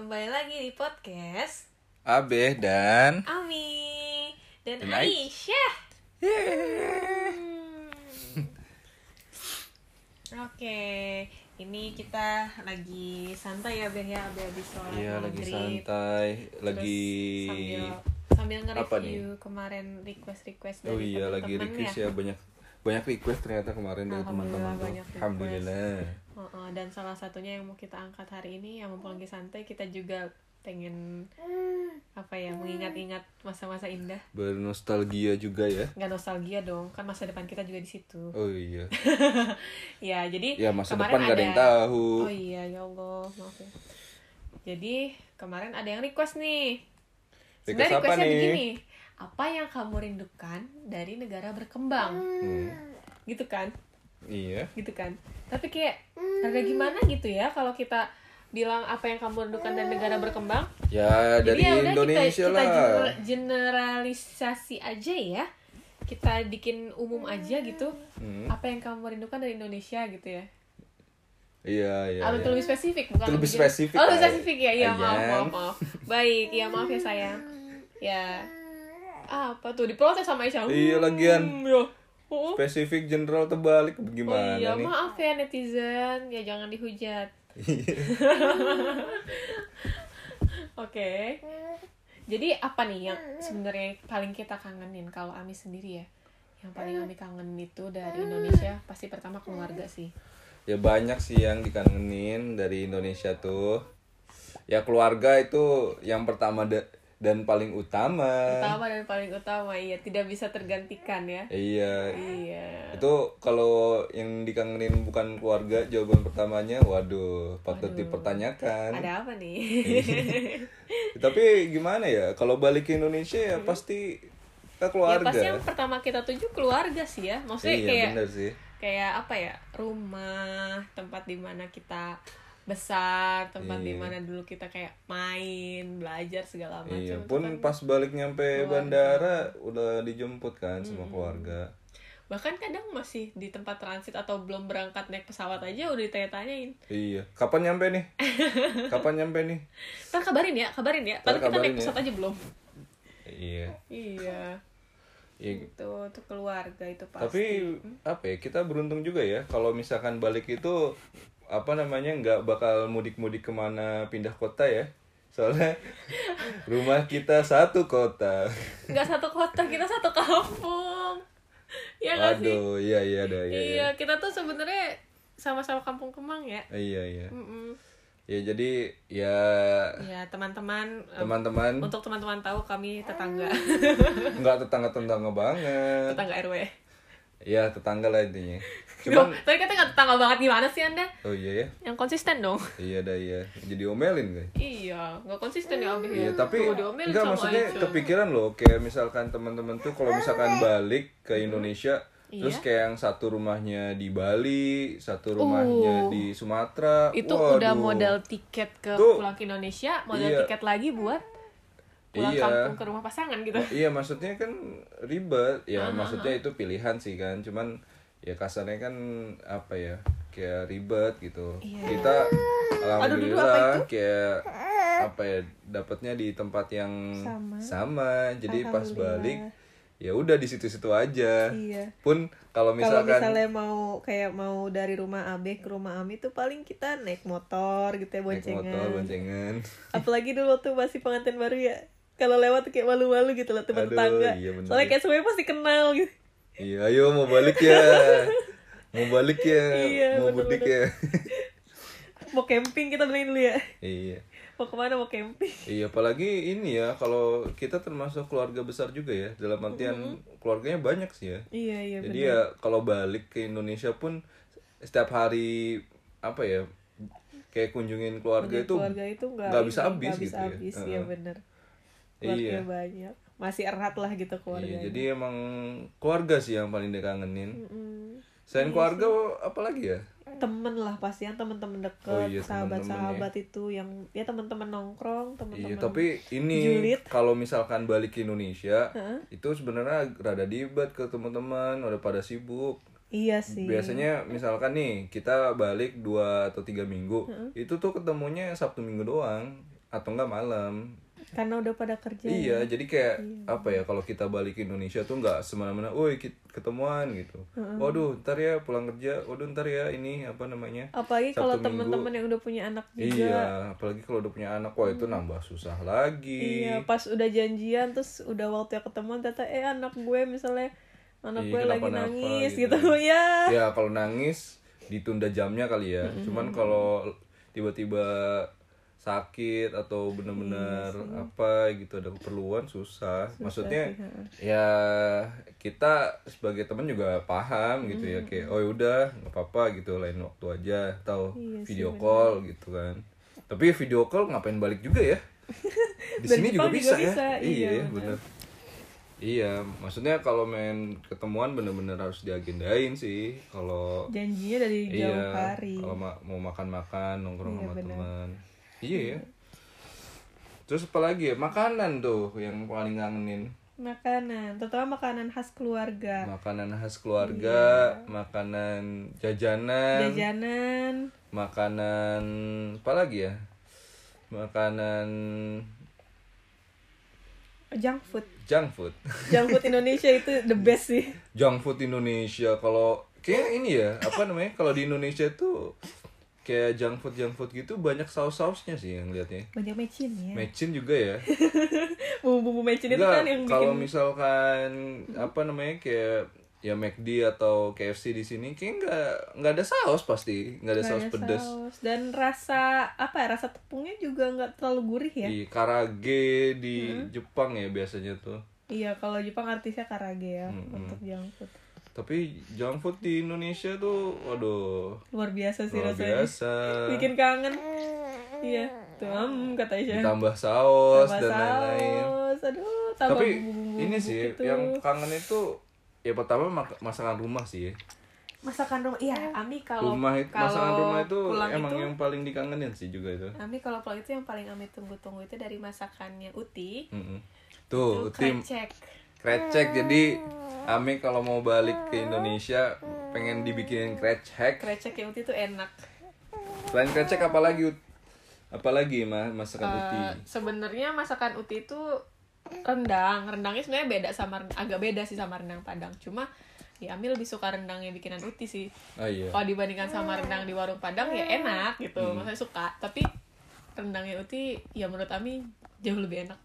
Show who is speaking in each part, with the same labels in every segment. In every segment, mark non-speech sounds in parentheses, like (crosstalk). Speaker 1: di podcast
Speaker 2: Abe dan
Speaker 1: Ami dan
Speaker 2: Dan Ai.
Speaker 1: Aisyah. Hmm. Oke, ini kita lagi santai ya Ben ya, Abe habis sholat
Speaker 2: Iya lagi
Speaker 1: maghrib.
Speaker 2: santai,
Speaker 1: Terus
Speaker 2: lagi
Speaker 1: sambil sambil
Speaker 2: Apa
Speaker 1: nge-review kemarin request-request dari
Speaker 2: Oh iya lagi
Speaker 1: teman-teman
Speaker 2: request
Speaker 1: ya.
Speaker 2: ya banyak banyak request ternyata kemarin dari
Speaker 1: Alhamdulillah,
Speaker 2: teman-teman tuh.
Speaker 1: banyak request.
Speaker 2: Alhamdulillah.
Speaker 1: Heeh, dan salah satunya yang mau kita angkat hari ini yang mumpung lagi santai kita juga pengen apa ya mengingat-ingat masa-masa indah
Speaker 2: Bernostalgia juga ya.
Speaker 1: nggak nostalgia dong kan masa depan kita juga di situ
Speaker 2: Oh iya.
Speaker 1: ya jadi
Speaker 2: Ya masa
Speaker 1: kemarin
Speaker 2: depan gak ada yang tahu.
Speaker 1: oh iya ya allah maaf ya jadi kemarin ada yang request nih
Speaker 2: Request
Speaker 1: sebenarnya
Speaker 2: apa
Speaker 1: requestnya
Speaker 2: nih?
Speaker 1: begini apa yang kamu rindukan dari negara berkembang
Speaker 2: Hmm,
Speaker 1: gitu kan
Speaker 2: Iya.
Speaker 1: gitu kan tapi kayak agak gimana gitu ya kalau kita bilang apa yang kamu rindukan dari negara berkembang
Speaker 2: Ya dari
Speaker 1: ya udah
Speaker 2: Indonesia
Speaker 1: kita,
Speaker 2: lah.
Speaker 1: kita gener- generalisasi aja ya kita bikin umum aja gitu
Speaker 2: Hmm,
Speaker 1: apa yang kamu rindukan dari Indonesia gitu ya
Speaker 2: Iya iya.
Speaker 1: Atau
Speaker 2: iya.
Speaker 1: lebih spesifik bukan
Speaker 2: Lebih
Speaker 1: gen-
Speaker 2: spesifik,
Speaker 1: oh lebih
Speaker 2: Ay.
Speaker 1: spesifik ya iya maaf
Speaker 2: Ayang.
Speaker 1: maaf maaf baik ya maaf ya sayang ya apa tuh diprotes sama Aisyah
Speaker 2: Iya, lagian.
Speaker 1: Hmm, ya. Oh, oh.
Speaker 2: Spesifik general terbalik
Speaker 1: Oh
Speaker 2: gimana
Speaker 1: iya,
Speaker 2: nih?
Speaker 1: maaf ya netizen, ya jangan
Speaker 2: (laughs)
Speaker 1: dihujat. Oke. Jadi apa nih yang sebenarnya paling kita kangenin kalau Ami sendiri ya? Yang paling Ami kangen itu dari Indonesia pasti pertama keluarga sih.
Speaker 2: Ya banyak sih yang dikangenin dari Indonesia tuh. Ya keluarga itu yang pertama da- dan paling utama.
Speaker 1: Utama dan paling utama iya, tidak bisa tergantikan ya.
Speaker 2: Iya.
Speaker 1: Iya.
Speaker 2: Itu kalau yang dikangenin bukan keluarga, jawaban pertamanya waduh, patut dipertanyakan.
Speaker 1: Ada apa
Speaker 2: Iya,
Speaker 1: nih?
Speaker 2: Tapi gimana ya? Kalau balik ke Indonesia ya pasti
Speaker 1: (laughs) Hmm. ya
Speaker 2: ke
Speaker 1: pasti
Speaker 2: keluarga.
Speaker 1: yang pertama kita tuju keluarga sih ya. Maksudnya
Speaker 2: iya,
Speaker 1: kayak
Speaker 2: bener sih.
Speaker 1: kayak apa ya rumah tempat dimana kita besar tempat
Speaker 2: Iya.
Speaker 1: dimana dulu kita kayak main belajar segala macam
Speaker 2: Iya,
Speaker 1: itu
Speaker 2: pun
Speaker 1: kan.
Speaker 2: pas balik nyampe bandara udah dijemput kan
Speaker 1: Hmm.
Speaker 2: sama keluarga.
Speaker 1: bahkan kadang masih di tempat transit atau belum berangkat naik pesawat aja udah ditanya-tanyain
Speaker 2: Iya, kapan nyampe
Speaker 1: (laughs)
Speaker 2: nih? Kapan nyampe nih?
Speaker 1: ntar kabarin ya kabarin ya
Speaker 2: Ntar
Speaker 1: ntar kita
Speaker 2: kabarin
Speaker 1: naik
Speaker 2: ya."
Speaker 1: pesawat aja belum
Speaker 2: Iya.
Speaker 1: iya
Speaker 2: Iya,
Speaker 1: itu itu keluarga itu Hmm, pasti
Speaker 2: tapi apa ya kita beruntung juga ya kalau misalkan balik itu apa namanya nggak bakal mudik-mudik kemana pindah kota ya soalnya
Speaker 1: (laughs)
Speaker 2: rumah kita satu kota
Speaker 1: nggak satu kota kita satu kampung ya nggak sih
Speaker 2: aduh iya iya ada iya iya
Speaker 1: iya kita tuh sebenarnya sama-sama kampung Kemang ya
Speaker 2: iya iya
Speaker 1: Mm-mm.
Speaker 2: ya jadi ya
Speaker 1: ya teman-teman eh, (laughs)
Speaker 2: teman-teman
Speaker 1: Untuk teman-teman tahu kami tetangga,
Speaker 2: nggak tetangga tetangga banget
Speaker 1: tetangga RW.
Speaker 2: ya tetangga lah
Speaker 1: (laughs)
Speaker 2: intinya
Speaker 1: Duh,
Speaker 2: cuman
Speaker 1: tapi kita nggak tetangga banget gimana sih anda?
Speaker 2: oh iya ya
Speaker 1: Yang konsisten dong.
Speaker 2: iya ada iya jadi omelin guys
Speaker 1: Iya, nggak konsisten ya Abi.
Speaker 2: Iya, tapi
Speaker 1: Tuh, diomelin
Speaker 2: enggak
Speaker 1: sama
Speaker 2: maksudnya
Speaker 1: Aisyah.
Speaker 2: kepikiran loh kayak misalkan teman-teman tuh kalau misalkan balik ke Indonesia
Speaker 1: Iya.
Speaker 2: terus kayak yang satu rumahnya di Bali, satu
Speaker 1: Uh.
Speaker 2: rumahnya di Sumatera.
Speaker 1: Itu
Speaker 2: Waduh.
Speaker 1: udah modal tiket ke
Speaker 2: Tuh.
Speaker 1: pulang ke Indonesia, modal
Speaker 2: Iya.
Speaker 1: tiket lagi buat pulang
Speaker 2: Iya.
Speaker 1: kampung ke rumah pasangan
Speaker 2: (laughs)
Speaker 1: gitu.
Speaker 2: Iya, maksudnya kan ribet. Ya, maksudnya itu pilihan sih kan. Cuman ya kasarnya kan apa ya? Kayak ribet gitu.
Speaker 1: Iya.
Speaker 2: Kita
Speaker 1: dulu apa
Speaker 2: alhamdulillah kayak apa ya dapatnya di tempat yang
Speaker 1: Sama.
Speaker 2: sama. Jadi pas
Speaker 1: Alhamdulillah.
Speaker 2: balik ya udah di situ-situ aja.
Speaker 1: Iya.
Speaker 2: Pun kalau misalkan
Speaker 1: mau kayak mau dari rumah Abe ke rumah Ami tuh paling kita naik motor gitu ya
Speaker 2: naik motor boncengan.
Speaker 1: apalagi dulu tuh masih pengantin baru ya kalau lewat tuh kayak malu-malu gitu loh teman
Speaker 2: Aduh,
Speaker 1: tetangga
Speaker 2: iya bener.
Speaker 1: soalnya kayak semuanya pasti kenal gitu
Speaker 2: Iya, ayo mau balik
Speaker 1: (laughs)
Speaker 2: ya. mau balik ya.
Speaker 1: Iya,
Speaker 2: mau mudik ya. (laughs)
Speaker 1: mau camping kita bilangin dulu ya
Speaker 2: iya.
Speaker 1: mau kemana mau camping
Speaker 2: Iya, apalagi ini ya kalau kita termasuk keluarga besar juga ya. Dalam artian keluarganya banyak sih ya.
Speaker 1: iya iya
Speaker 2: Jadi ya kalau balik ke Indonesia pun setiap hari apa ya kayak kunjungin keluarga itu iya,
Speaker 3: keluarga itu nggak
Speaker 2: nggak
Speaker 3: ini,
Speaker 2: bisa habis
Speaker 3: nggak bisa
Speaker 2: gitu ya.
Speaker 3: habis, ya,
Speaker 1: Iya,
Speaker 2: Heeh.
Speaker 3: bener keluarga
Speaker 2: iya.
Speaker 3: banyak masih erat lah gitu
Speaker 2: Iya,
Speaker 3: keluarga
Speaker 2: jadi emang keluarga sih yang paling dikangenin.
Speaker 3: Iya
Speaker 2: Selain keluarga apalagi ya?
Speaker 3: temen lah pasti yang temen-temen deket
Speaker 2: Oh iya,
Speaker 3: sahabat-sahabat itu yang ya temen-temen nongkrong
Speaker 2: Iya,
Speaker 3: temen-temen
Speaker 2: tapi ini
Speaker 3: julid.
Speaker 2: kalau misalkan balik ke Indonesia, itu sebenarnya rada dibat ke teman-teman, udah pada sibuk.
Speaker 3: iya sih
Speaker 2: Biasanya misalkan Hmm. nih kita balik dua atau tiga minggu, itu tuh ketemunya Sabtu Minggu doang. atau enggak malam
Speaker 3: Karena udah pada kerja.
Speaker 2: Iya, jadi kayak apa ya kalau kita balik ke Indonesia tuh nggak semena-mena, woi kit- ketemuan gitu. Waduh, ntar ya pulang kerja, waduh ntar ya ini apa namanya?
Speaker 3: Apalagi
Speaker 2: Sabtu,
Speaker 3: kalau
Speaker 2: Minggu.
Speaker 3: teman-teman yang udah punya anak
Speaker 2: Iya,
Speaker 3: juga.
Speaker 2: apalagi kalau udah punya anak, wah itu nambah susah lagi.
Speaker 3: Iya, pas udah janjian terus udah waktu ketemu ternyata eh anak gue misalnya anak
Speaker 2: Iya,
Speaker 3: gue lagi
Speaker 2: kenapa-napa
Speaker 3: nangis
Speaker 2: gitu.
Speaker 3: gitu, (laughs) ya.
Speaker 2: Ya kalau nangis ditunda jamnya kali ya. Cuman kalau tiba-tiba sakit atau
Speaker 3: Iya
Speaker 2: bener-bener apa gitu ada keperluan susah. Maksudnya ya kita sebagai teman juga paham gitu ya kayak oh udah nggak apa-apa gitu lain waktu aja atau
Speaker 3: Iya sih,
Speaker 2: video call gitu kan. Tapi video call ngapain balik juga
Speaker 3: (laughs)
Speaker 2: ya? Di
Speaker 3: Dan
Speaker 2: sini
Speaker 3: Jepang
Speaker 2: juga
Speaker 3: juga
Speaker 2: bisa,
Speaker 3: bisa,
Speaker 2: ya.
Speaker 3: iya,
Speaker 2: iya bener. Iya, maksudnya kalau main ketemuan bener-bener harus diagendain sih. Kalau
Speaker 3: Janjinya dari jauh
Speaker 2: iya,
Speaker 3: hari.
Speaker 2: kalau ma- mau makan-makan nongkrong
Speaker 3: Iya,
Speaker 2: sama
Speaker 3: bener.
Speaker 2: teman. Iya ya. Terus apa lagi ya? Makanan tuh yang paling ngangenin.
Speaker 3: Makanan, terutama makanan khas keluarga.
Speaker 2: Makanan khas keluarga,
Speaker 3: Iya.
Speaker 2: makanan jajanan,
Speaker 3: Jajanan,
Speaker 2: makanan apa lagi ya? Makanan
Speaker 3: junk food.
Speaker 2: junk food.
Speaker 3: Junk food Indonesia itu the best sih.
Speaker 2: junk food Indonesia kalau kayak ini ya apa namanya kalau di Indonesia tuh kayak junk food junk food gitu banyak saus sausnya sih yang liatnya
Speaker 3: Banyak mecin ya.
Speaker 2: mecin juga
Speaker 3: (laughs)
Speaker 2: ya
Speaker 3: Bumbu-bumbu mecin itu kan
Speaker 2: Enggak,
Speaker 3: yang bikin
Speaker 2: kalau misalkan apa namanya kayak ya McD atau KFC di sini kayak nggak nggak ada saus pasti nggak ada
Speaker 3: Nggak
Speaker 2: saus
Speaker 3: ada
Speaker 2: pedas
Speaker 3: saus. dan rasa apa ya rasa tepungnya juga nggak terlalu gurih ya
Speaker 2: di karage di Jepang ya biasanya tuh
Speaker 3: iya kalau Jepang artisnya karage ya untuk junk food
Speaker 2: tapi junk food di Indonesia tuh waduh
Speaker 3: luar biasa sih
Speaker 2: luar
Speaker 3: rasanya (laughs)
Speaker 2: biasa
Speaker 3: bikin kangen iya tuh hmm, kata Aisyah
Speaker 2: ditambah saus
Speaker 3: Tambah
Speaker 2: dan lain-lain
Speaker 3: saus aduh tambah
Speaker 2: tapi
Speaker 3: bumbu-bumbu
Speaker 2: ini sih
Speaker 3: gitu.
Speaker 2: yang kangen itu ya pertama mak- masakan rumah sih ya.
Speaker 1: masakan rumah iya Ami kalau
Speaker 2: rumah itu masakan
Speaker 1: kalau
Speaker 2: rumah itu
Speaker 1: pulang
Speaker 2: emang
Speaker 1: itu-
Speaker 2: yang paling dikangenin sih juga itu
Speaker 1: Ami kalau pulang itu yang paling Ami tunggu-tunggu itu dari masakannya Uti
Speaker 2: Mm-mm. tuh tim
Speaker 1: krecek
Speaker 2: krecek jadi Ame kalau mau balik ke Indonesia pengen dibikinin krecek
Speaker 1: kreceknya Uti itu enak
Speaker 2: selain krecek apalagi Ut? apalagi mah masakan uti
Speaker 1: Eh, sebenarnya masakan uti itu rendang rendangnya sebenarnya beda sama agak beda sih sama rendang padang cuma ya Ami lebih suka rendangnya bikinan uti sih
Speaker 2: oh iya
Speaker 1: kalau dibandingkan sama rendang di warung padang ya enak gitu
Speaker 2: Hmm.
Speaker 1: maksudnya suka tapi rendangnya uti ya menurut Ami jauh lebih enak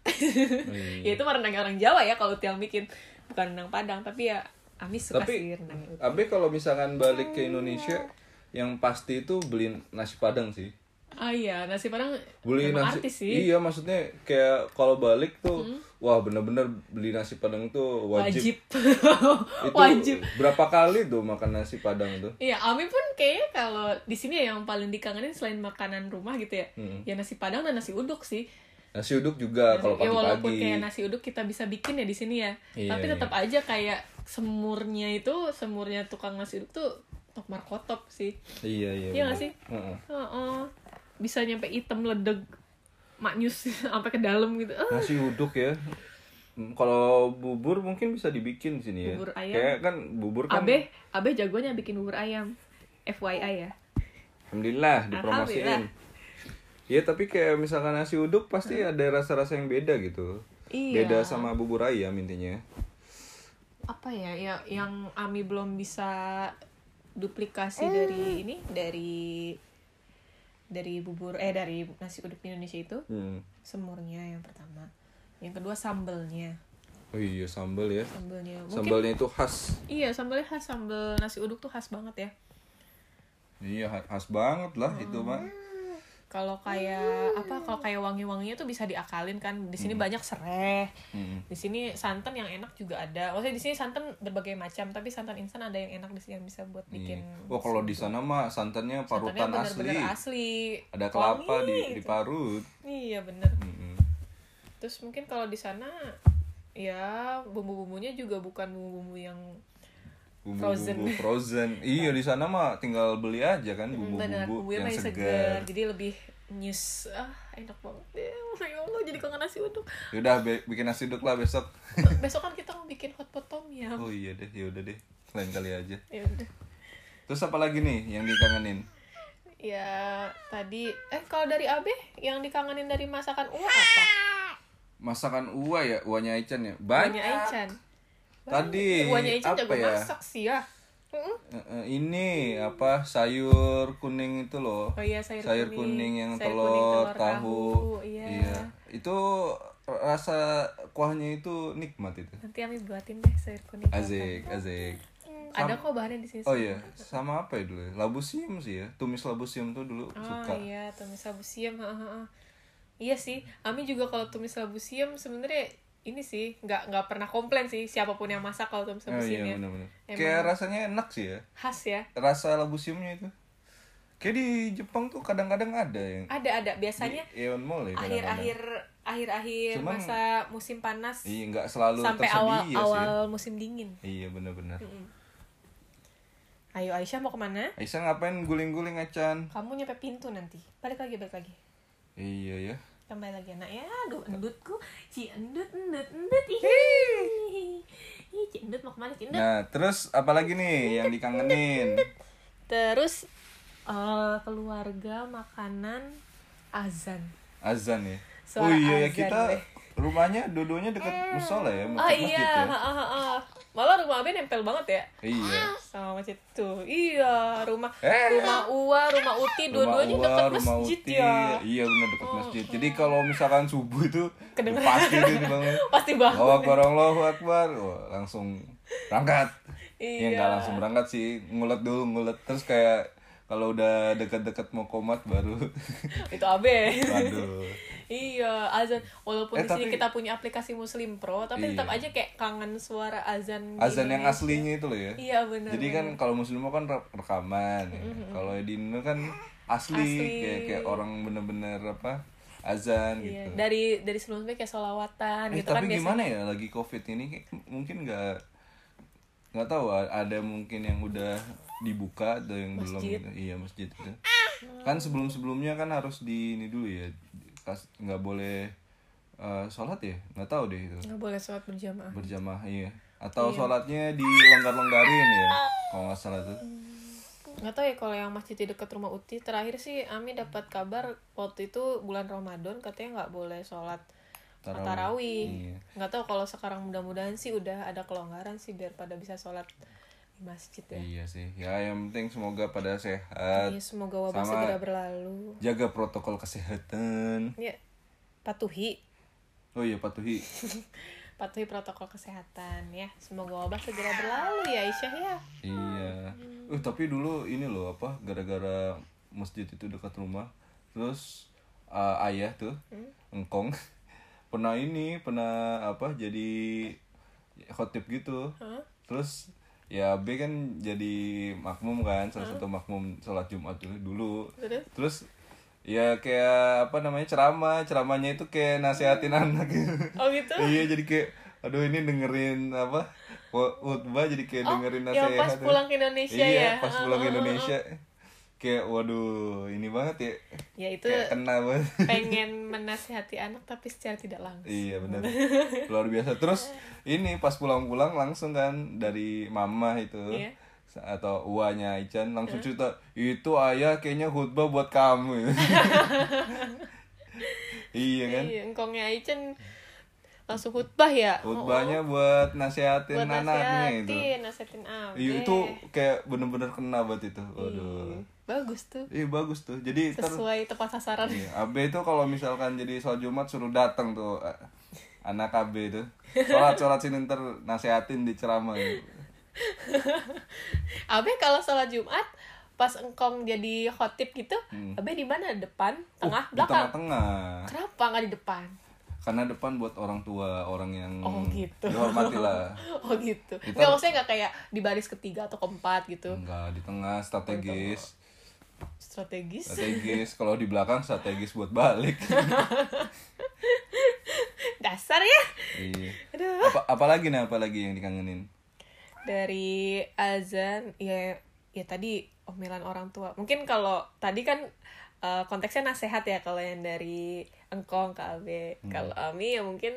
Speaker 1: (laughs)
Speaker 2: iya.
Speaker 1: ya itu mah rendangnya orang Jawa ya kalau uti yang bikin bukan rendang padang tapi ya Ami suka
Speaker 2: Tapi-
Speaker 1: sih rendangnya uti
Speaker 2: Abe kalau misalkan balik ke Indonesia yang pasti itu beliin nasi padang sih
Speaker 1: ah iya nasi padang
Speaker 2: beli
Speaker 1: memang
Speaker 2: nasi
Speaker 1: artis sih Hmm.
Speaker 2: iya maksudnya kayak kalau balik tuh wah bener-bener beli nasi padang tuh
Speaker 1: wajib
Speaker 2: wajib,
Speaker 1: (laughs)
Speaker 2: itu
Speaker 1: wajib
Speaker 2: berapa kali tuh makan nasi padang tuh
Speaker 1: Iya, Ami pun kayaknya kalau di sini ya yang paling dikangenin selain makanan rumah gitu ya,
Speaker 2: Hmm.
Speaker 1: ya nasi padang dan nasi uduk sih.
Speaker 2: nasi uduk juga Eh, kalau
Speaker 1: ya walaupun kayak
Speaker 2: pagi-pagi
Speaker 1: nasi uduk kita bisa bikin ya di sini ya,
Speaker 2: Iya,
Speaker 1: tapi
Speaker 2: iya.
Speaker 1: tetap aja kayak semurnya itu, semurnya tukang nasi uduk tuh tok markotop sih.
Speaker 2: iya iya
Speaker 1: Iya
Speaker 2: bener.
Speaker 1: nggak sih?
Speaker 2: Heeh.
Speaker 1: Heeh. Bisa nyampe item ledeg maknyus (laughs) sampai ke dalam gitu. Ah,
Speaker 2: nasi uduk ya Mm, kalau bubur mungkin bisa dibikin di sini ya
Speaker 1: Bubur ayam.
Speaker 2: kayak kan bubur kan
Speaker 1: Abe, Abe jagonya bikin bubur ayam. FYI ya.
Speaker 2: alhamdulillah dipromosiin Iya tapi kayak misalkan nasi uduk pasti ada rasa-rasa yang beda gitu
Speaker 1: Hmm. Iya.
Speaker 2: beda sama bubur ayam intinya
Speaker 1: apa ya ya yang Ami belum bisa duplikasi dari ini dari dari bubur eh dari nasi uduk Indonesia itu
Speaker 2: Hmm.
Speaker 1: semurnya yang pertama yang kedua sambelnya
Speaker 2: oh iya sambal ya
Speaker 1: sambelnya mungkin
Speaker 2: sambalnya itu khas
Speaker 1: iya sambelnya khas sambel nasi uduk tuh khas banget ya
Speaker 2: iya khas banget lah itu
Speaker 1: Hmm.
Speaker 2: mah
Speaker 1: kalau kayak apa kalau kayak wangi-wanginya tuh bisa diakalin kan di sini banyak serai
Speaker 2: Hmm.
Speaker 1: di sini santan yang enak juga ada maksudnya di sini santan berbagai macam tapi santan instan ada yang enak di sini yang bisa buat bikin
Speaker 2: Iya. Wah Oh, kalau di sana mah santannya
Speaker 1: Santannya
Speaker 2: parutan asli.
Speaker 1: bener-bener asli.
Speaker 2: Ada kelapa
Speaker 1: Wangi.
Speaker 2: di Hmm. diparut.
Speaker 1: Iya bener.
Speaker 2: Mm-mm.
Speaker 1: Terus mungkin kalau di sana ya bumbu-bumbunya juga bukan bumbu-bumbu yang
Speaker 2: Bumbu-bumbu frozen. Iya di sana mah tinggal beli
Speaker 1: Hmm,
Speaker 2: aja kan
Speaker 1: benar
Speaker 2: bumbu-bumbu
Speaker 1: bumbunya
Speaker 2: yang
Speaker 1: masih
Speaker 2: segar.
Speaker 1: segar. Jadi lebih nyus ah enak banget ya ya Allah jadi kangen nasi uduk
Speaker 2: Yaudah be- bikin nasi uduk lah besok.
Speaker 1: (laughs) besok kan kita mau bikin hot pot tom ya
Speaker 2: Oh iya deh, yaudah deh. Lain kali aja.
Speaker 1: ya udah
Speaker 2: Terus apa lagi nih yang dikangenin?
Speaker 1: ya tadi eh kalau dari Abe yang dikangenin dari masakan Uwa apa?
Speaker 2: Masakan Uwa ya, Uwanya Aichan ya.
Speaker 1: Uwanya
Speaker 2: Banyak.
Speaker 1: Aichan.
Speaker 2: Tadi
Speaker 1: Uwanya Aichan
Speaker 2: apa
Speaker 1: jago
Speaker 2: ya?
Speaker 1: masak sih ya. Mm-mm.
Speaker 2: Eh, eh, ini apa sayur kuning itu loh.
Speaker 1: Oh iya sayur,
Speaker 2: sayur kuning, yang
Speaker 1: Sayur
Speaker 2: telur,
Speaker 1: kuning,
Speaker 2: tahu.
Speaker 1: Iya.
Speaker 2: Itu rasa kuahnya itu nikmat itu.
Speaker 1: Nanti Ami buatin deh sayur kuning. telur
Speaker 2: Azik, azik.
Speaker 1: tahu. Ada kok bahannya di sini.
Speaker 2: Oh iya, sama apa ya dulu? ya? Labusium sih ya. Tumis labusium tuh dulu
Speaker 1: Oh
Speaker 2: suka.
Speaker 1: iya, tumis labu siam. ha, ha, ha. Iya sih, Ami juga kalau tumis labu siam sebenarnya ini sih nggak nggak pernah komplain sih siapapun yang masak kalau tumis labu
Speaker 2: Oh
Speaker 1: siam ya.
Speaker 2: iya benar-benar.
Speaker 1: Emang-
Speaker 2: Kayak rasanya enak sih ya.
Speaker 1: Khas ya.
Speaker 2: Rasa labusiumnya itu. Kayak di Jepang tuh kadang-kadang ada yang
Speaker 1: Ada ada
Speaker 2: di
Speaker 1: biasanya
Speaker 2: Aeon Mall ya kadang-kadang.
Speaker 1: akhir-akhir akhir-akhir
Speaker 2: Cuman-
Speaker 1: masa musim panas
Speaker 2: Iya, nggak selalu
Speaker 1: sampai
Speaker 2: tersedia
Speaker 1: awal
Speaker 2: iya sih.
Speaker 1: awal musim dingin.
Speaker 2: Iya benar-benar.
Speaker 1: Ayo Aisyah mau kemana?
Speaker 2: Aisyah ngapain guling-guling acan?
Speaker 1: Kamu nyampe pintu nanti. Balik lagi, balik lagi.
Speaker 2: Iya ya.
Speaker 1: Kembali lagi anak ya. Aduh, endutku. Ci endut, endut, endut. Ih. Ih, Ci endut mau kemana, Ci endut?
Speaker 2: Nah, terus apalagi nih yang dikangenin?
Speaker 1: Terus eh, keluarga, makanan, azan.
Speaker 2: Azan ya.
Speaker 1: Suara
Speaker 2: oh iya ya
Speaker 1: azan
Speaker 2: kita
Speaker 1: deh.
Speaker 2: rumahnya dua-duanya dekat musola ya,
Speaker 1: Oh
Speaker 2: masjid
Speaker 1: iya,
Speaker 2: ya.
Speaker 1: ha, ha, ha. malah rumah Abe nempel banget ya
Speaker 2: Iya.
Speaker 1: sama masjid tuh. Iya, rumah
Speaker 2: Eh.
Speaker 1: rumah Uwa, rumah Uti, dua-duanya
Speaker 2: Uwa,
Speaker 1: dekat
Speaker 2: rumah
Speaker 1: masjid
Speaker 2: Uti.
Speaker 1: ya. oh.
Speaker 2: Iya benar dekat masjid. Jadi kalau misalkan subuh itu
Speaker 1: Kedengeran.
Speaker 2: pasti dia dibangun.
Speaker 1: Pasti banget.
Speaker 2: Allahu Akbar, Allahu Akbar. Wah, langsung berangkat. Ya
Speaker 1: Iya.
Speaker 2: nggak langsung berangkat sih, ngulet dulu, ngulet terus kayak kalau udah dekat-dekat mau komat baru. (laughs)
Speaker 1: Itu Abe.
Speaker 2: Waduh.
Speaker 1: Iya, azan. Walaupun
Speaker 2: Eh,
Speaker 1: di sini
Speaker 2: tapi-
Speaker 1: kita punya aplikasi Muslim Pro, tapi tetap
Speaker 2: Iya.
Speaker 1: aja kayak kangen suara azan. di
Speaker 2: Azan yang
Speaker 1: Indonesia.
Speaker 2: aslinya itu loh ya.
Speaker 1: Iya benar.
Speaker 2: Jadi kan kalau muslim kan re- rekaman, ya. kalau di Indo kan asli,
Speaker 1: Asli.
Speaker 2: Kayak, kayak orang bener-bener apa azan
Speaker 1: Iya,
Speaker 2: gitu.
Speaker 1: dari dari sebelumnya kayak solawatan
Speaker 2: Eh,
Speaker 1: gitu kan
Speaker 2: tapi
Speaker 1: biasanya.
Speaker 2: gimana ya lagi covid ini kayak mungkin nggak nggak tahu a- ada mungkin yang udah dibuka ada yang belum
Speaker 1: Masjid.
Speaker 2: gitu. iya masjid itu kan sebelum sebelumnya kan harus di ini dulu ya kas- nggak boleh eh, sholat ya nggak tahu deh itu
Speaker 1: nggak boleh sholat berjamaah.
Speaker 2: berjamaah iya atau sholatnya dilonggar-longgarin ya kalau nggak salah tuh
Speaker 1: Nggak tahu ya kalau yang masjid di dekat rumah Uti. Terakhir sih Ami dapat kabar waktu itu bulan Ramadan katanya nggak boleh sholat
Speaker 2: Tarawih.
Speaker 1: tarawih.
Speaker 2: Iya.
Speaker 1: Nggak tahu kalau sekarang mudah-mudahan sih udah ada kelonggaran sih biar pada bisa sholat di masjid ya.
Speaker 2: iya sih ya yang penting semoga pada sehat
Speaker 1: Iya, semoga wabah
Speaker 2: sama-
Speaker 1: segera berlalu.
Speaker 2: jaga protokol kesehatan
Speaker 1: Ya, patuhi
Speaker 2: oh iya patuhi
Speaker 1: patuhi protokol kesehatan ya. Semoga wabah segera berlalu ya Aisyah ya.
Speaker 2: Iya. Eh tapi dulu ini loh apa gara-gara masjid itu dekat rumah terus eh, ayah tuh engkong (laughs) pernah ini pernah apa jadi khotib gitu. Terus ya B kan jadi makmum kan salah satu makmum sholat Jumat dulu dulu.
Speaker 1: Terus?
Speaker 2: Terus ya kayak apa namanya ceramah ceramahnya itu kayak nasehatin anak gitu
Speaker 1: Oh gitu.
Speaker 2: iya jadi kayak aduh ini dengerin apa khut- khutbah jadi kayak
Speaker 1: Oh,
Speaker 2: dengerin
Speaker 1: yang
Speaker 2: nasihat
Speaker 1: pas pulang ke Indonesia
Speaker 2: iya,
Speaker 1: ya.
Speaker 2: pas pulang ke Indonesia kayak waduh ini banget ya
Speaker 1: Ya itu
Speaker 2: kayak kena banget (laughs)
Speaker 1: pengen menasehati anak tapi secara tidak langsung. (laughs)
Speaker 2: iya benar luar biasa terus ini pas pulang-pulang langsung kan dari mama itu
Speaker 1: Iya.
Speaker 2: atau uanya Ican langsung cerita itu ayah kayaknya khutbah buat kamu (laughs) iya kan
Speaker 1: Iya, engkongnya Aicen langsung khutbah ya.
Speaker 2: khutbahnya buat
Speaker 1: Oh, buat
Speaker 2: nasehatin anaknya itu
Speaker 1: nasihatin, nasihatin Abe.
Speaker 2: Iya itu kayak bener-bener kena buat itu. Waduh.
Speaker 1: bagus tuh.
Speaker 2: Iya bagus tuh. Jadi ter
Speaker 1: Sesuai tepat sasaran.
Speaker 2: Iya, Abe itu kalau misalkan jadi sholat Jumat suruh datang tuh eh, anak Abe itu. Sholat sholat sini ntar nasehatin di ceramah.
Speaker 1: Abe kalau sholat Jumat pas engkong jadi khotib gitu, Abe di mana? Depan, tengah,
Speaker 2: Hmm. Uh, Oh, Di
Speaker 1: belakang.
Speaker 2: tengah-tengah.
Speaker 1: Kenapa nggak di depan?
Speaker 2: Karena depan buat orang tua, orang yang
Speaker 1: Oh, gitu.
Speaker 2: dihormati lah.
Speaker 1: (laughs) Oh gitu. Nggak maksudnya nggak kayak di baris ketiga atau keempat gitu.
Speaker 2: Enggak, di tengah strategis.
Speaker 1: Strategis.
Speaker 2: Strategis kalau di belakang strategis buat balik.
Speaker 1: (laughs) Dasar ya.
Speaker 2: iya.
Speaker 1: Aduh.
Speaker 2: Apa apalagi nih apalagi yang dikangenin?
Speaker 1: Dari azan ya ya tadi omelan orang tua. Mungkin kalau tadi kan eh, konteksnya nasehat ya kalau yang dari engkong ke Abe. Kalau Ami ya mungkin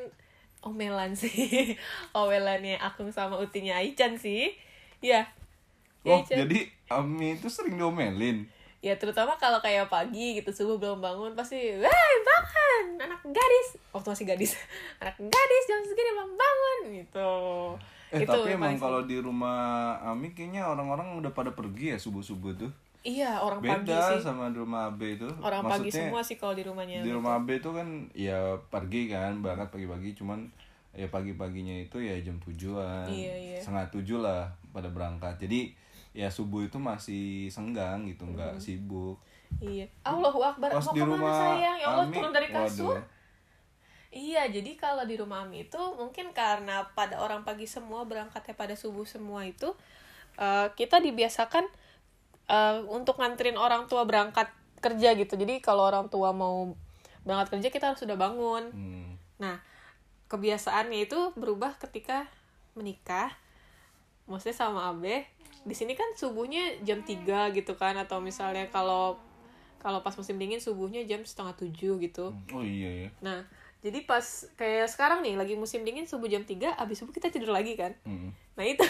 Speaker 1: omelan sih. (laughs) Omelannya Akung sama Utinya Aichan sih. Ya. Ya,
Speaker 2: Oh,
Speaker 1: Ican.
Speaker 2: jadi Ami itu sering diomelin.
Speaker 1: ya terutama kalau kayak pagi gitu subuh belum bangun pasti wah bangun anak gadis waktu masih gadis (laughs) anak gadis jam segini belum bangun gitu
Speaker 2: Eh
Speaker 1: Itu
Speaker 2: tapi
Speaker 1: yang
Speaker 2: emang
Speaker 1: paling-
Speaker 2: kalau di rumah Ami kayaknya orang-orang udah pada pergi ya subuh-subuh tuh.
Speaker 1: iya orang pagi
Speaker 2: Beda
Speaker 1: sih
Speaker 2: sama di rumah Abe itu.
Speaker 1: orang pagi
Speaker 2: Maksudnya,
Speaker 1: semua sih ya, kalau di rumahnya
Speaker 2: Di rumah Abe itu kan ya pergi kan banget pagi-pagi cuman ya pagi-paginya itu ya jam tujuan
Speaker 1: Iya, iya.
Speaker 2: setengah tujuh lah pada berangkat jadi ya subuh itu masih senggang gitu nggak sibuk
Speaker 1: iya Allahu Akbar
Speaker 2: pas
Speaker 1: Hmm. mau
Speaker 2: di
Speaker 1: kemana
Speaker 2: rumah
Speaker 1: sayang ya Allah
Speaker 2: Ami,
Speaker 1: turun dari kasur
Speaker 2: waduh,
Speaker 1: Iya, jadi kalau di rumah Ami itu mungkin karena pada orang pagi semua berangkatnya pada subuh semua itu eh, kita dibiasakan eh, untuk nganterin orang tua berangkat kerja gitu. Jadi kalau orang tua mau berangkat kerja kita harus sudah bangun.
Speaker 2: hmm.
Speaker 1: Nah, kebiasaannya itu berubah ketika menikah. Maksudnya sama Abe, di sini kan subuhnya jam 3 gitu kan atau misalnya kalau kalau pas musim dingin subuhnya jam setengah tujuh gitu.
Speaker 2: oh iya ya
Speaker 1: Nah, jadi pas kayak sekarang nih lagi musim dingin subuh jam 3, abis subuh kita tidur lagi kan.
Speaker 2: Hmm.
Speaker 1: Nah, itu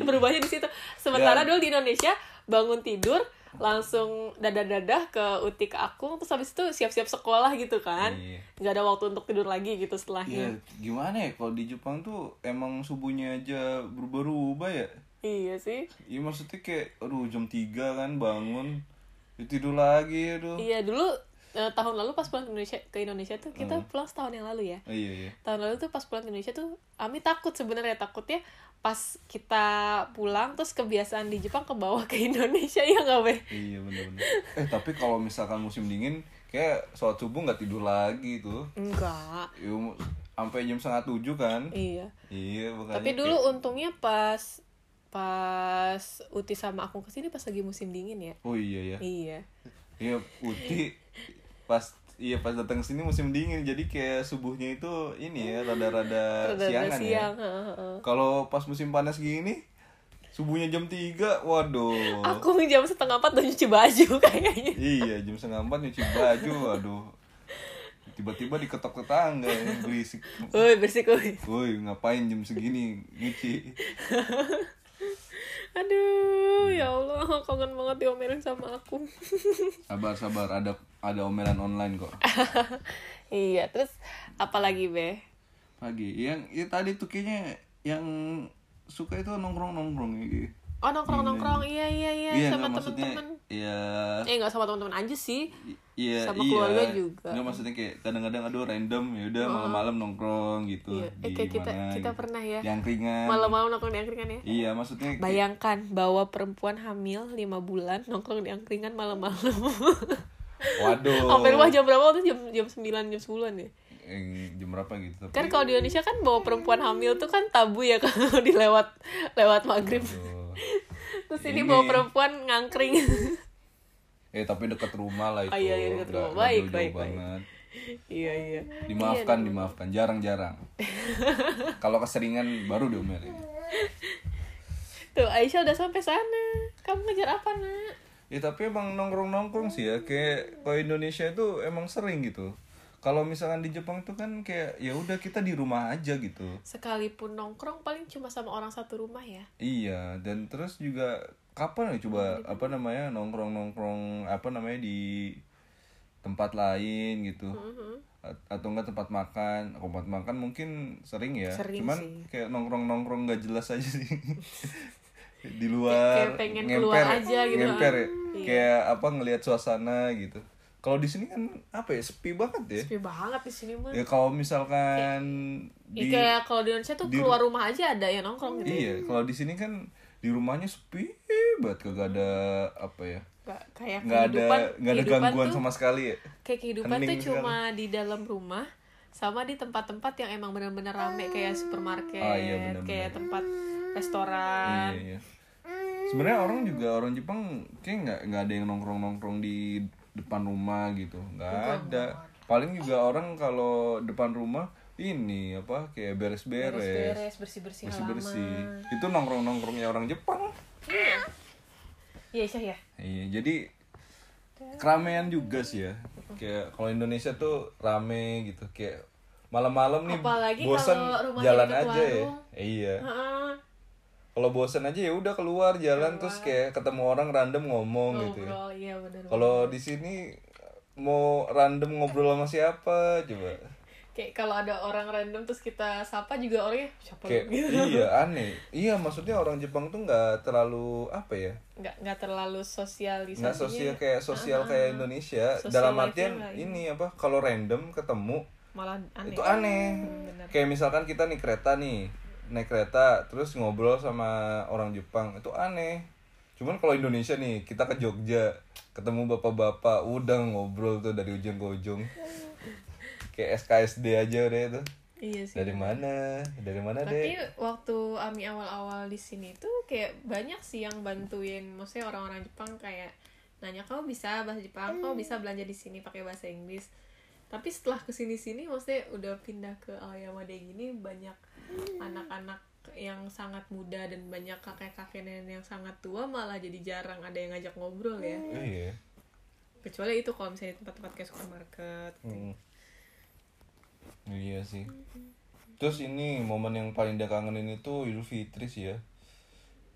Speaker 1: berubahnya di situ. Sementara
Speaker 2: Dan-
Speaker 1: dulu di Indonesia bangun tidur langsung dadah-dadah ke Uti ke Akung terus habis itu siap-siap sekolah gitu kan.
Speaker 2: Iya.
Speaker 1: nggak ada waktu untuk tidur lagi gitu
Speaker 2: Ya,
Speaker 1: setelahnya.
Speaker 2: gimana ya kalau di Jepang tuh emang subuhnya aja berubah-ubah ya?
Speaker 1: Iya sih.
Speaker 2: Iya maksudnya kayak aduh jam 3 kan bangun ya tidur lagi aduh.
Speaker 1: Iya, dulu eh, tahun lalu pas pulang ke Indonesia ke Indonesia tuh kita pulang setahun yang lalu ya.
Speaker 2: Oh, iya iya.
Speaker 1: tahun lalu tuh pas pulang ke Indonesia tuh Ami takut sebenarnya takutnya pas kita pulang terus kebiasaan di Jepang ke bawah ke (laughs) Indonesia ya nggak Be?
Speaker 2: Iya bener-bener. eh tapi kalau misalkan musim dingin kayak sholat subuh nggak tidur lagi tuh.
Speaker 1: Enggak.
Speaker 2: Ya, mu- sampai jam setengah tujuh kan?
Speaker 1: Iya.
Speaker 2: Iya
Speaker 1: Tapi
Speaker 2: makanya. kayak-
Speaker 1: dulu untungnya pas pas Uti sama aku kesini pas lagi musim dingin ya.
Speaker 2: Oh iya ya.
Speaker 1: Iya.
Speaker 2: Iya putih pas iya pas datang sini musim dingin jadi kayak subuhnya itu ini ya rada-rada
Speaker 1: Rada-rada
Speaker 2: siangan ya.
Speaker 1: siang. ha, ha, ha.
Speaker 2: Kalau pas musim panas gini, subuhnya jam 3, waduh.
Speaker 1: Aku jam setengah empat udah nyuci baju (laughs) kayaknya.
Speaker 2: Iya, jam setengah empat nyuci baju, waduh. Tiba-tiba diketok tetangga yang berisik.
Speaker 1: Woi bersih woi.
Speaker 2: Woi, ngapain jam segini nyuci? Hmm.
Speaker 1: Aduh ya Allah (laughs) kangen banget diomelin sama aku. (laughs)
Speaker 2: Sabar-sabar, ada ada omelan online kok.
Speaker 1: iya terus apalagi Be?
Speaker 2: Pagi, yang ya tadi tuh kayaknya yang suka itu nongkrong-nongkrong ya. gitu.
Speaker 1: Oh nongkrong nongkrong iya iya iya,
Speaker 2: Iya,
Speaker 1: sama
Speaker 2: nggak, maksudnya
Speaker 1: temen-temen.
Speaker 2: ya
Speaker 1: Eh nggak sama temen-temen aja sih.
Speaker 2: Iya,
Speaker 1: Sama
Speaker 2: iya.
Speaker 1: keluarga juga. Oh.
Speaker 2: Nggak, maksudnya kayak kadang-kadang aduh random ya udah malam-malam nongkrong gitu.
Speaker 1: Iya. Eh
Speaker 2: di
Speaker 1: kayak kita
Speaker 2: mana,
Speaker 1: kita
Speaker 2: gitu.
Speaker 1: pernah ya
Speaker 2: Yang ringan.
Speaker 1: malam-malam nongkrong di angkringan ya.
Speaker 2: Iya, maksudnya kayak-
Speaker 1: Bayangkan bawa perempuan hamil 5 bulan nongkrong di angkringan malam-malam.
Speaker 2: Oh. waduh.
Speaker 1: Sampai rumah jam berapa waktu itu? jam jam 9 jam 10 ya.
Speaker 2: Eh, jam berapa gitu tapi.
Speaker 1: Kan kalau di Indonesia kan bawa perempuan hamil tuh kan tabu ya (laughs) kalau dilewat lewat maghrib.
Speaker 2: Aduh.
Speaker 1: Terus ini,
Speaker 2: Ini.
Speaker 1: bawa perempuan
Speaker 2: (laughs)
Speaker 1: ngangkring.
Speaker 2: Eh, tapi dekat rumah lah itu.
Speaker 1: Oh, iya, iya, dekat
Speaker 2: Nggak-
Speaker 1: rumah.
Speaker 2: nggak
Speaker 1: Baik,
Speaker 2: jauh-jauh
Speaker 1: baik, baik.
Speaker 2: banget.
Speaker 1: iya iya.
Speaker 2: Dimaafkan, dimaafkan.
Speaker 1: (laughs)
Speaker 2: Jarang-jarang. Kalau keseringan baru diomelin.
Speaker 1: Iya. Tuh Aisyah udah sampai sana. Kamu ngejar apa, Nak?
Speaker 2: Ya tapi emang nongkrong-nongkrong sih ya kayak kalau Indonesia itu emang sering gitu. Kalau misalkan di Jepang tuh kan kayak ya udah kita di rumah aja gitu.
Speaker 1: sekalipun nongkrong paling cuma sama orang satu rumah ya
Speaker 2: Iya, dan terus juga kapan ya coba
Speaker 1: Iya,
Speaker 2: apa namanya nongkrong-nongkrong apa namanya di tempat lain gitu.
Speaker 1: Mm-hmm.
Speaker 2: A- atau enggak tempat makan. Tempat makan mungkin sering ya.
Speaker 1: Sering
Speaker 2: Cuman
Speaker 1: sih.
Speaker 2: kayak nongkrong-nongkrong nggak jelas aja sih. (laughs) di
Speaker 1: Kayak
Speaker 2: luar
Speaker 1: pengen keluar
Speaker 2: ya,
Speaker 1: aja gitu.
Speaker 2: Ngemper ya.
Speaker 1: Iya.
Speaker 2: Kayak apa ngelihat suasana gitu. Kalau di sini kan apa ya sepi banget ya.
Speaker 1: sepi banget di sini mah
Speaker 2: Ya kalau misalkan
Speaker 1: Ya,
Speaker 2: di
Speaker 1: kayak kalau di Indonesia tuh
Speaker 2: di-
Speaker 1: keluar rumah aja ada yang nongkrong gitu
Speaker 2: Iya, kalau di sini kan di rumahnya sepi banget kagak ada apa ya?
Speaker 1: Nggak- kayak
Speaker 2: Nggak ada
Speaker 1: kehidupan
Speaker 2: nggak ada
Speaker 1: kehidupan
Speaker 2: gangguan
Speaker 1: tuh,
Speaker 2: sama sekali ya.
Speaker 1: kayak kehidupan tuh
Speaker 2: Hening
Speaker 1: cuma di dalam rumah sama di tempat-tempat yang emang benar-benar rame kayak supermarket
Speaker 2: Ah, iya, benar-benar.
Speaker 1: kayak tempat restoran
Speaker 2: Iya, iya. Sebenarnya orang juga orang Jepang kayak nggak nggak ada yang nongkrong nongkrong di depan rumah gitu, nggak ada. Paling juga orang kalau depan rumah ini apa kayak beres-beres,
Speaker 1: beres bersih-bersih
Speaker 2: bersih-bersih. Itu nongkrong nongkrongnya orang Jepang.
Speaker 1: iya Aisyah ya
Speaker 2: Iya, jadi keramaian juga sih ya. Kayak kalau Indonesia tuh rame gitu, kayak malam-malam nih
Speaker 1: Apalagi
Speaker 2: bosan
Speaker 1: kalau rumahnya
Speaker 2: jalan
Speaker 1: deket
Speaker 2: aja ya.
Speaker 1: warung.
Speaker 2: Iya.
Speaker 1: Heeh.
Speaker 2: kalau bosan aja ya udah keluar jalan terus kayak ketemu orang random ngomong gitu ya
Speaker 1: ngobrol iya bener
Speaker 2: kalau di sini mau random ngobrol sama siapa coba
Speaker 1: kayak kalau ada orang random terus kita sapa juga orangnya siapa lu?"
Speaker 2: kayak
Speaker 1: gitu
Speaker 2: iya aneh iya maksudnya orang Jepang tuh nggak terlalu apa ya
Speaker 1: nggak nggak terlalu sosialisasi
Speaker 2: nggak sosial kayak sosial
Speaker 1: Ah,
Speaker 2: kayak Indonesia
Speaker 1: Social
Speaker 2: dalam
Speaker 1: life-nya
Speaker 2: artian
Speaker 1: nggak
Speaker 2: ini apa kalau random ketemu
Speaker 1: malah aneh Hmm,
Speaker 2: itu aneh kayak misalkan kita nih kereta nih naik kereta terus ngobrol sama orang Jepang itu aneh cuman kalau Indonesia nih kita ke Jogja ketemu bapak-bapak udah ngobrol tuh dari ujung ke
Speaker 1: (laughs)
Speaker 2: ujung kayak SKSD aja udah itu
Speaker 1: iya sih
Speaker 2: dari mana dari mana
Speaker 1: tapi
Speaker 2: deh
Speaker 1: waktu Ami awal-awal di sini tuh kayak banyak sih yang bantuin maksudnya orang-orang Jepang kayak nanya kamu bisa bahasa Jepang kamu bisa belanja di sini pakai bahasa Inggris tapi setelah kesini sini maksudnya udah pindah ke Aoyamade gini banyak anak-anak yang sangat muda dan banyak kakek-kakek nenek yang sangat tua malah jadi jarang ada yang ngajak ngobrol ya
Speaker 2: Oh, iya
Speaker 1: kecuali itu kalau misalnya di tempat-tempat kayak supermarket
Speaker 2: Hmm. Iya sih. Terus ini momen yang paling dia kangenin itu Idul Fitri sih ya.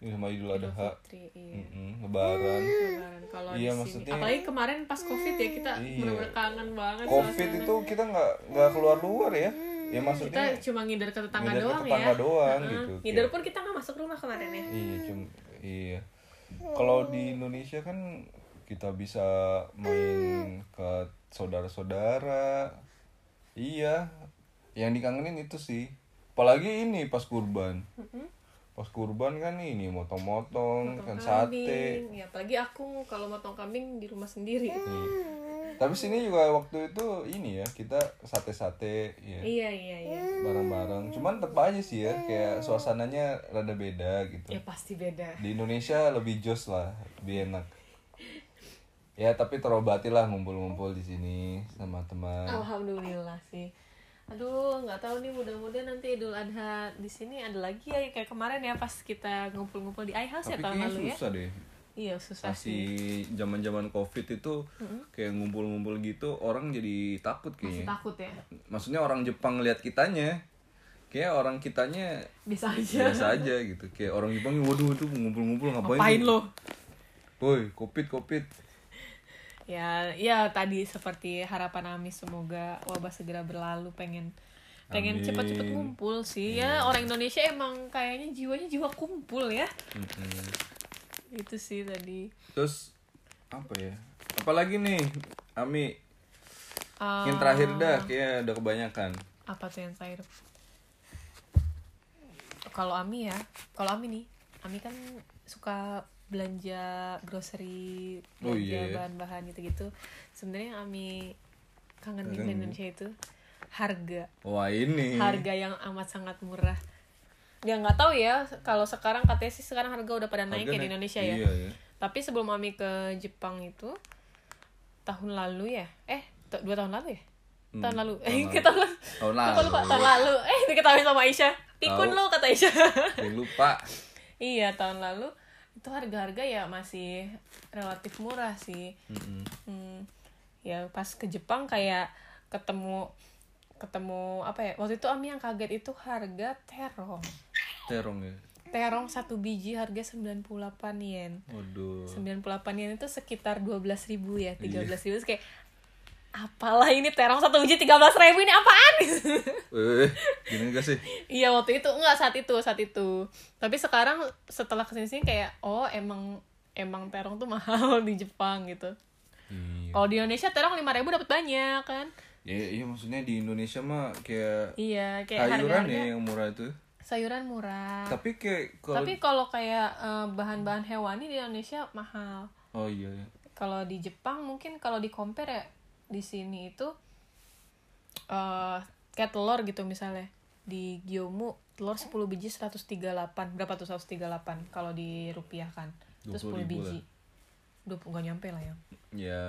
Speaker 2: Ini sama Idul
Speaker 1: Idul
Speaker 2: Adha.
Speaker 1: Fitri, Hmm. iya.
Speaker 2: Mm-mm, Lebaran.
Speaker 1: Lebaran. Gitu kan, kalau
Speaker 2: Iya,
Speaker 1: di sini
Speaker 2: maksudnya-
Speaker 1: apalagi kemarin pas covid ya kita
Speaker 2: Iya.
Speaker 1: bener-bener kangen banget
Speaker 2: Covid
Speaker 1: suasana.
Speaker 2: itu kita nggak nggak keluar luar ya. Ya
Speaker 1: Hmm, kita
Speaker 2: maksudnya
Speaker 1: cuma ngindar ke tetangga
Speaker 2: ngindar ke
Speaker 1: doang
Speaker 2: tetangga
Speaker 1: ya
Speaker 2: doang
Speaker 1: Heeh.
Speaker 2: gitu,
Speaker 1: ngindar
Speaker 2: kayak-
Speaker 1: pun kita nggak masuk rumah kemarin ya
Speaker 2: iya cum- iya. Kalau di Indonesia kan kita bisa main ke saudara-saudara. Iya. Yang dikangenin itu sih. Apalagi ini pas kurban. Pas kurban kan ini motong-motong,
Speaker 1: Motong
Speaker 2: kan sate.
Speaker 1: kambing ya apalagi aku kalau motong kambing di rumah sendiri
Speaker 2: Iya. Tapi sini juga waktu itu ini ya, kita sate-sate ya.
Speaker 1: iya iya iya
Speaker 2: Bareng-bareng. Cuman tetep aja sih ya, kayak suasananya rada beda gitu.
Speaker 1: ya pasti beda
Speaker 2: Di Indonesia lebih jos lah, lebih enak. Ya, tapi terobati lah ngumpul-ngumpul di sini sama teman.
Speaker 1: alhamdulillah sih aduh nggak tahu nih mudah-mudahan nanti Idul Adha di sini ada lagi ya kayak kemarin ya pas kita ngumpul-ngumpul di iHouse ya
Speaker 2: Tapi
Speaker 1: tahun
Speaker 2: kayaknya
Speaker 1: lalu ya
Speaker 2: susah deh.
Speaker 1: iya susah sih
Speaker 2: Masih zaman-zaman Covid itu kayak ngumpul-ngumpul gitu orang jadi takut
Speaker 1: masih
Speaker 2: kayaknya.
Speaker 1: takut ya
Speaker 2: maksudnya orang Jepang ngeliat kitanya kayak orang kitanya
Speaker 1: bisa aja (laughs)
Speaker 2: biasa aja gitu kayak orang Jepang waduh itu ngumpul-ngumpul ngapain
Speaker 1: ngapain lo
Speaker 2: woi covid covid
Speaker 1: ya ya tadi seperti harapan Ami semoga wabah segera berlalu pengen pengen
Speaker 2: Amin.
Speaker 1: cepet-cepet ngumpul sih ya orang Indonesia emang kayaknya jiwanya jiwa kumpul ya
Speaker 2: Mm-mm.
Speaker 1: itu sih tadi
Speaker 2: terus apa ya apalagi nih Ami
Speaker 1: Eh,
Speaker 2: yang terakhir dah kayak udah kebanyakan
Speaker 1: apa tuh yang terakhir kalau Ami ya kalau Ami nih Ami kan suka belanja grocery belanja
Speaker 2: Oh, iya, ya.
Speaker 1: bahan-bahan gitu-gitu sebenarnya yang Ami kangenin di
Speaker 2: Kangen.
Speaker 1: Indonesia itu harga
Speaker 2: wah ini
Speaker 1: harga yang amat sangat murah ya nggak tahu ya kalau sekarang katanya sih sekarang harga udah pada
Speaker 2: Harga
Speaker 1: naik ya di Indonesia ya
Speaker 2: iya, ya
Speaker 1: tapi sebelum Ami ke Jepang itu tahun lalu ya eh t- dua tahun lalu ya
Speaker 2: Hmm,
Speaker 1: tahun lalu eh
Speaker 2: tahun
Speaker 1: (laughs) kita tahun lalu
Speaker 2: tahun
Speaker 1: lupa
Speaker 2: lalu
Speaker 1: lupa tahun lalu eh diketahui sama Aisyah pikun
Speaker 2: Tahu.
Speaker 1: lo kata Aisyah (laughs)
Speaker 2: Eh, lupa
Speaker 1: iya tahun lalu itu harga-harga ya masih relatif murah sih
Speaker 2: Mm-mm.
Speaker 1: Hmm, ya pas ke Jepang kayak ketemu ketemu apa ya waktu itu Ami yang kaget itu harga terong
Speaker 2: terong ya
Speaker 1: terong satu biji harga 98 yen
Speaker 2: waduh
Speaker 1: 98 yen itu sekitar 12.000 ya 13.000 Terus kayak apalah ini terong satu biji 13.000 ini apaan (laughs)
Speaker 2: eh eh, gini gak sih
Speaker 1: Iya waktu itu enggak saat itu saat itu tapi sekarang setelah kesini sini kayak oh emang emang terong tuh mahal (laughs) di Jepang gitu
Speaker 2: iya
Speaker 1: kalau di Indonesia terong 5.000 dapat banyak kan
Speaker 2: ya, iya maksudnya di Indonesia mah kayak
Speaker 1: Iya, kayak
Speaker 2: sayuran
Speaker 1: harga-harga
Speaker 2: ya yang murah itu
Speaker 1: sayuran murah.
Speaker 2: tapi kayak kalau
Speaker 1: Tapi kalau kayak eh, bahan-bahan hewani di Indonesia mahal.
Speaker 2: oh iya iya.
Speaker 1: Kalau di Jepang mungkin kalau di compare ya di sini itu eh kayak telur gitu misalnya di Giomu telur 10 biji 138. Berapa tuh 138 kalau di rupiah kan? Itu 10
Speaker 2: 20.000
Speaker 1: biji. Dua nggak nyampe lah ya.
Speaker 2: ya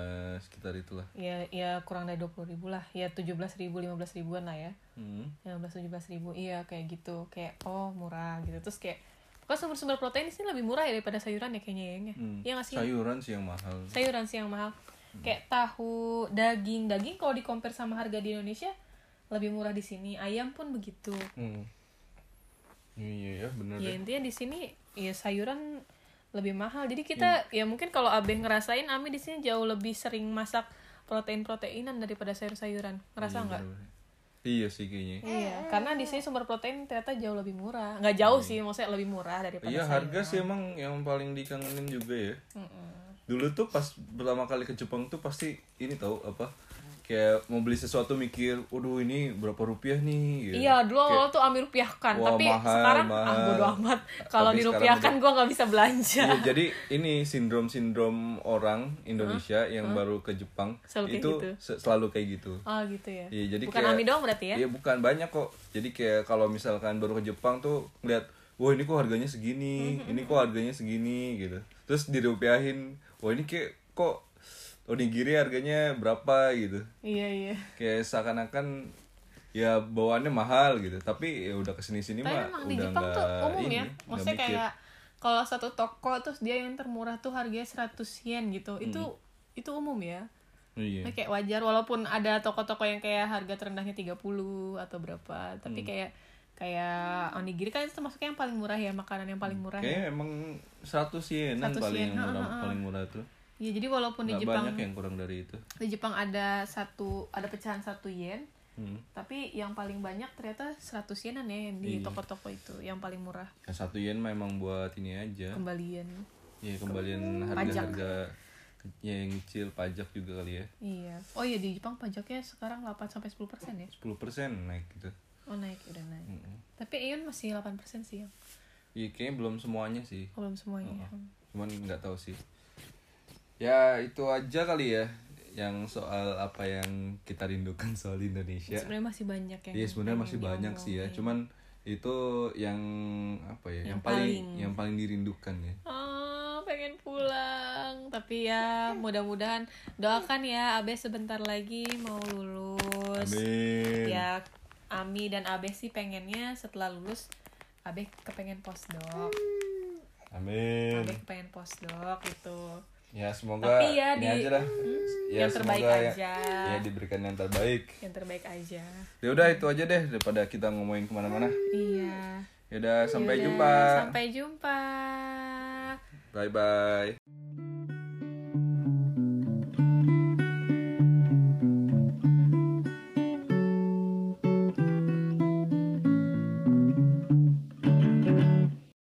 Speaker 2: sekitar itulah
Speaker 1: Ya ya kurang dari 20 ribu lah. Ya 17 ribu, 15 ribuan lah ya.
Speaker 2: hmm.
Speaker 1: 15 17 ribu iya kayak gitu kayak oh murah gitu terus kayak kok sumber-sumber protein di sini lebih murah ya daripada sayuran ya kayaknya ya nggak?
Speaker 2: Hmm.
Speaker 1: Iya nggak sih
Speaker 2: sayuran sih yang mahal
Speaker 1: sayuran sih yang mahal kayak tahu daging daging kalau di compare sama harga di Indonesia lebih murah di sini ayam pun begitu
Speaker 2: hmm. Iya ya bener
Speaker 1: ya
Speaker 2: deh.
Speaker 1: intinya di sini ya sayuran lebih mahal jadi kita
Speaker 2: Hmm.
Speaker 1: ya mungkin kalau abeh ngerasain Ami di sini jauh lebih sering masak protein proteinan daripada sayur sayuran ngerasa nggak
Speaker 2: Iya sih kayaknya.
Speaker 1: iya karena di sini sumber protein ternyata jauh lebih murah nggak jauh sih maksudnya lebih murah daripada
Speaker 2: Iya
Speaker 1: sayur
Speaker 2: harga sih emang yang paling dikangenin juga ya.
Speaker 1: Mm-mm.
Speaker 2: Dulu tuh pas pertama kali ke Jepang tuh pasti ini tahu apa? Kayak mau beli sesuatu mikir, waduh ini berapa rupiah nih? gitu.
Speaker 1: Iya, dulu
Speaker 2: Kayak,
Speaker 1: awal tuh Ami rupiahkan,
Speaker 2: Wah,
Speaker 1: tapi
Speaker 2: mahal,
Speaker 1: sekarang ah
Speaker 2: mahal.
Speaker 1: bodo amat. Kalau
Speaker 2: Tapi
Speaker 1: dirupiahkan
Speaker 2: sekarang
Speaker 1: gue nggak bisa belanja.
Speaker 2: Iya, jadi ini sindrom-sindrom orang Indonesia yang baru ke Jepang
Speaker 1: Selalu kayak
Speaker 2: itu
Speaker 1: gitu.
Speaker 2: se- selalu kayak gitu.
Speaker 1: Oh gitu ya.
Speaker 2: Iya, jadi
Speaker 1: Bukan
Speaker 2: kayak-
Speaker 1: Ami doang berarti ya?
Speaker 2: Iya bukan banyak kok. Jadi kayak kalau misalkan baru ke Jepang tuh ngeliat, wah ini kok harganya segini,
Speaker 1: Mm-hmm,
Speaker 2: ini kok harganya segini gitu. Terus dirupiahin, wah ini kayak kok onigiri harganya berapa gitu.
Speaker 1: Iya iya.
Speaker 2: Kayak seakan-akan ya bawaannya mahal gitu. Tapi ya udah kesini sini
Speaker 1: Tapi
Speaker 2: mah
Speaker 1: emang di
Speaker 2: udah
Speaker 1: Jepang tuh
Speaker 2: nggak
Speaker 1: umum
Speaker 2: ini,
Speaker 1: ya.
Speaker 2: nggak
Speaker 1: Maksudnya
Speaker 2: mikir.
Speaker 1: kayak kalau satu toko terus dia yang termurah tuh harganya 100 yen gitu. Itu itu umum ya.
Speaker 2: Hmm. Iya.
Speaker 1: Nah, kayak wajar walaupun ada toko-toko yang kayak harga terendahnya 30 atau berapa,
Speaker 2: Hmm.
Speaker 1: tapi kayak kayak onigiri kan itu termasuk yang paling murah ya, makanan yang paling murah.
Speaker 2: Kayaknya
Speaker 1: ya.
Speaker 2: emang 100 yenan
Speaker 1: 100
Speaker 2: paling
Speaker 1: yen,
Speaker 2: yang murah,
Speaker 1: ha-ha-ha.
Speaker 2: paling murah tuh.
Speaker 1: Iya, jadi walaupun di
Speaker 2: Nggak
Speaker 1: Jepang
Speaker 2: banyak yang kurang dari itu.
Speaker 1: di Jepang ada satu ada pecahan satu yen
Speaker 2: Hmm.
Speaker 1: tapi yang paling banyak ternyata 100 yenan ya yang
Speaker 2: Iya.
Speaker 1: di toko-toko itu yang paling murah
Speaker 2: Yang satu yen memang buat ini aja.
Speaker 1: kembalian
Speaker 2: Iya kembalian harga-harga ya, yang kecil pajak juga kali ya.
Speaker 1: iya oh iya di Jepang pajaknya sekarang 8 sampai 10 persen ya
Speaker 2: 10% naik gitu.
Speaker 1: oh naik udah naik tapi Aeon masih 8 persen sih yang
Speaker 2: Iya kayaknya belum semuanya sih.
Speaker 1: oh, belum semuanya
Speaker 2: Cuman nggak tahu sih. Ya itu aja kali ya yang soal apa yang kita rindukan soal Indonesia.
Speaker 1: sebenarnya masih banyak yang
Speaker 2: Ya. Iya sebenarnya masih
Speaker 1: pengen iya.
Speaker 2: banyak
Speaker 1: diomong.
Speaker 2: sih ya. Cuman itu yang apa ya? Yang, paling yang paling dirindukan ya.
Speaker 1: Ah, pengen pulang tapi ya mudah-mudahan doakan ya Abe sebentar lagi mau lulus
Speaker 2: Amin.
Speaker 1: ya Ami dan Abe sih pengennya setelah lulus Abe kepengen postdoc
Speaker 2: Amin.
Speaker 1: Abe kepengen postdoc gitu
Speaker 2: Ya semoga
Speaker 1: Tapi ya
Speaker 2: ini
Speaker 1: di-
Speaker 2: aja lah. Ya,
Speaker 1: yang terbaik
Speaker 2: semoga
Speaker 1: aja.
Speaker 2: Ya, ya diberikan yang terbaik.
Speaker 1: yang terbaik aja
Speaker 2: Ya udah itu aja deh daripada kita ngomongin kemana-mana.
Speaker 1: iya
Speaker 2: Ya udah sampai
Speaker 1: Yaudah,
Speaker 2: jumpa.
Speaker 1: sampai jumpa
Speaker 2: Bye bye.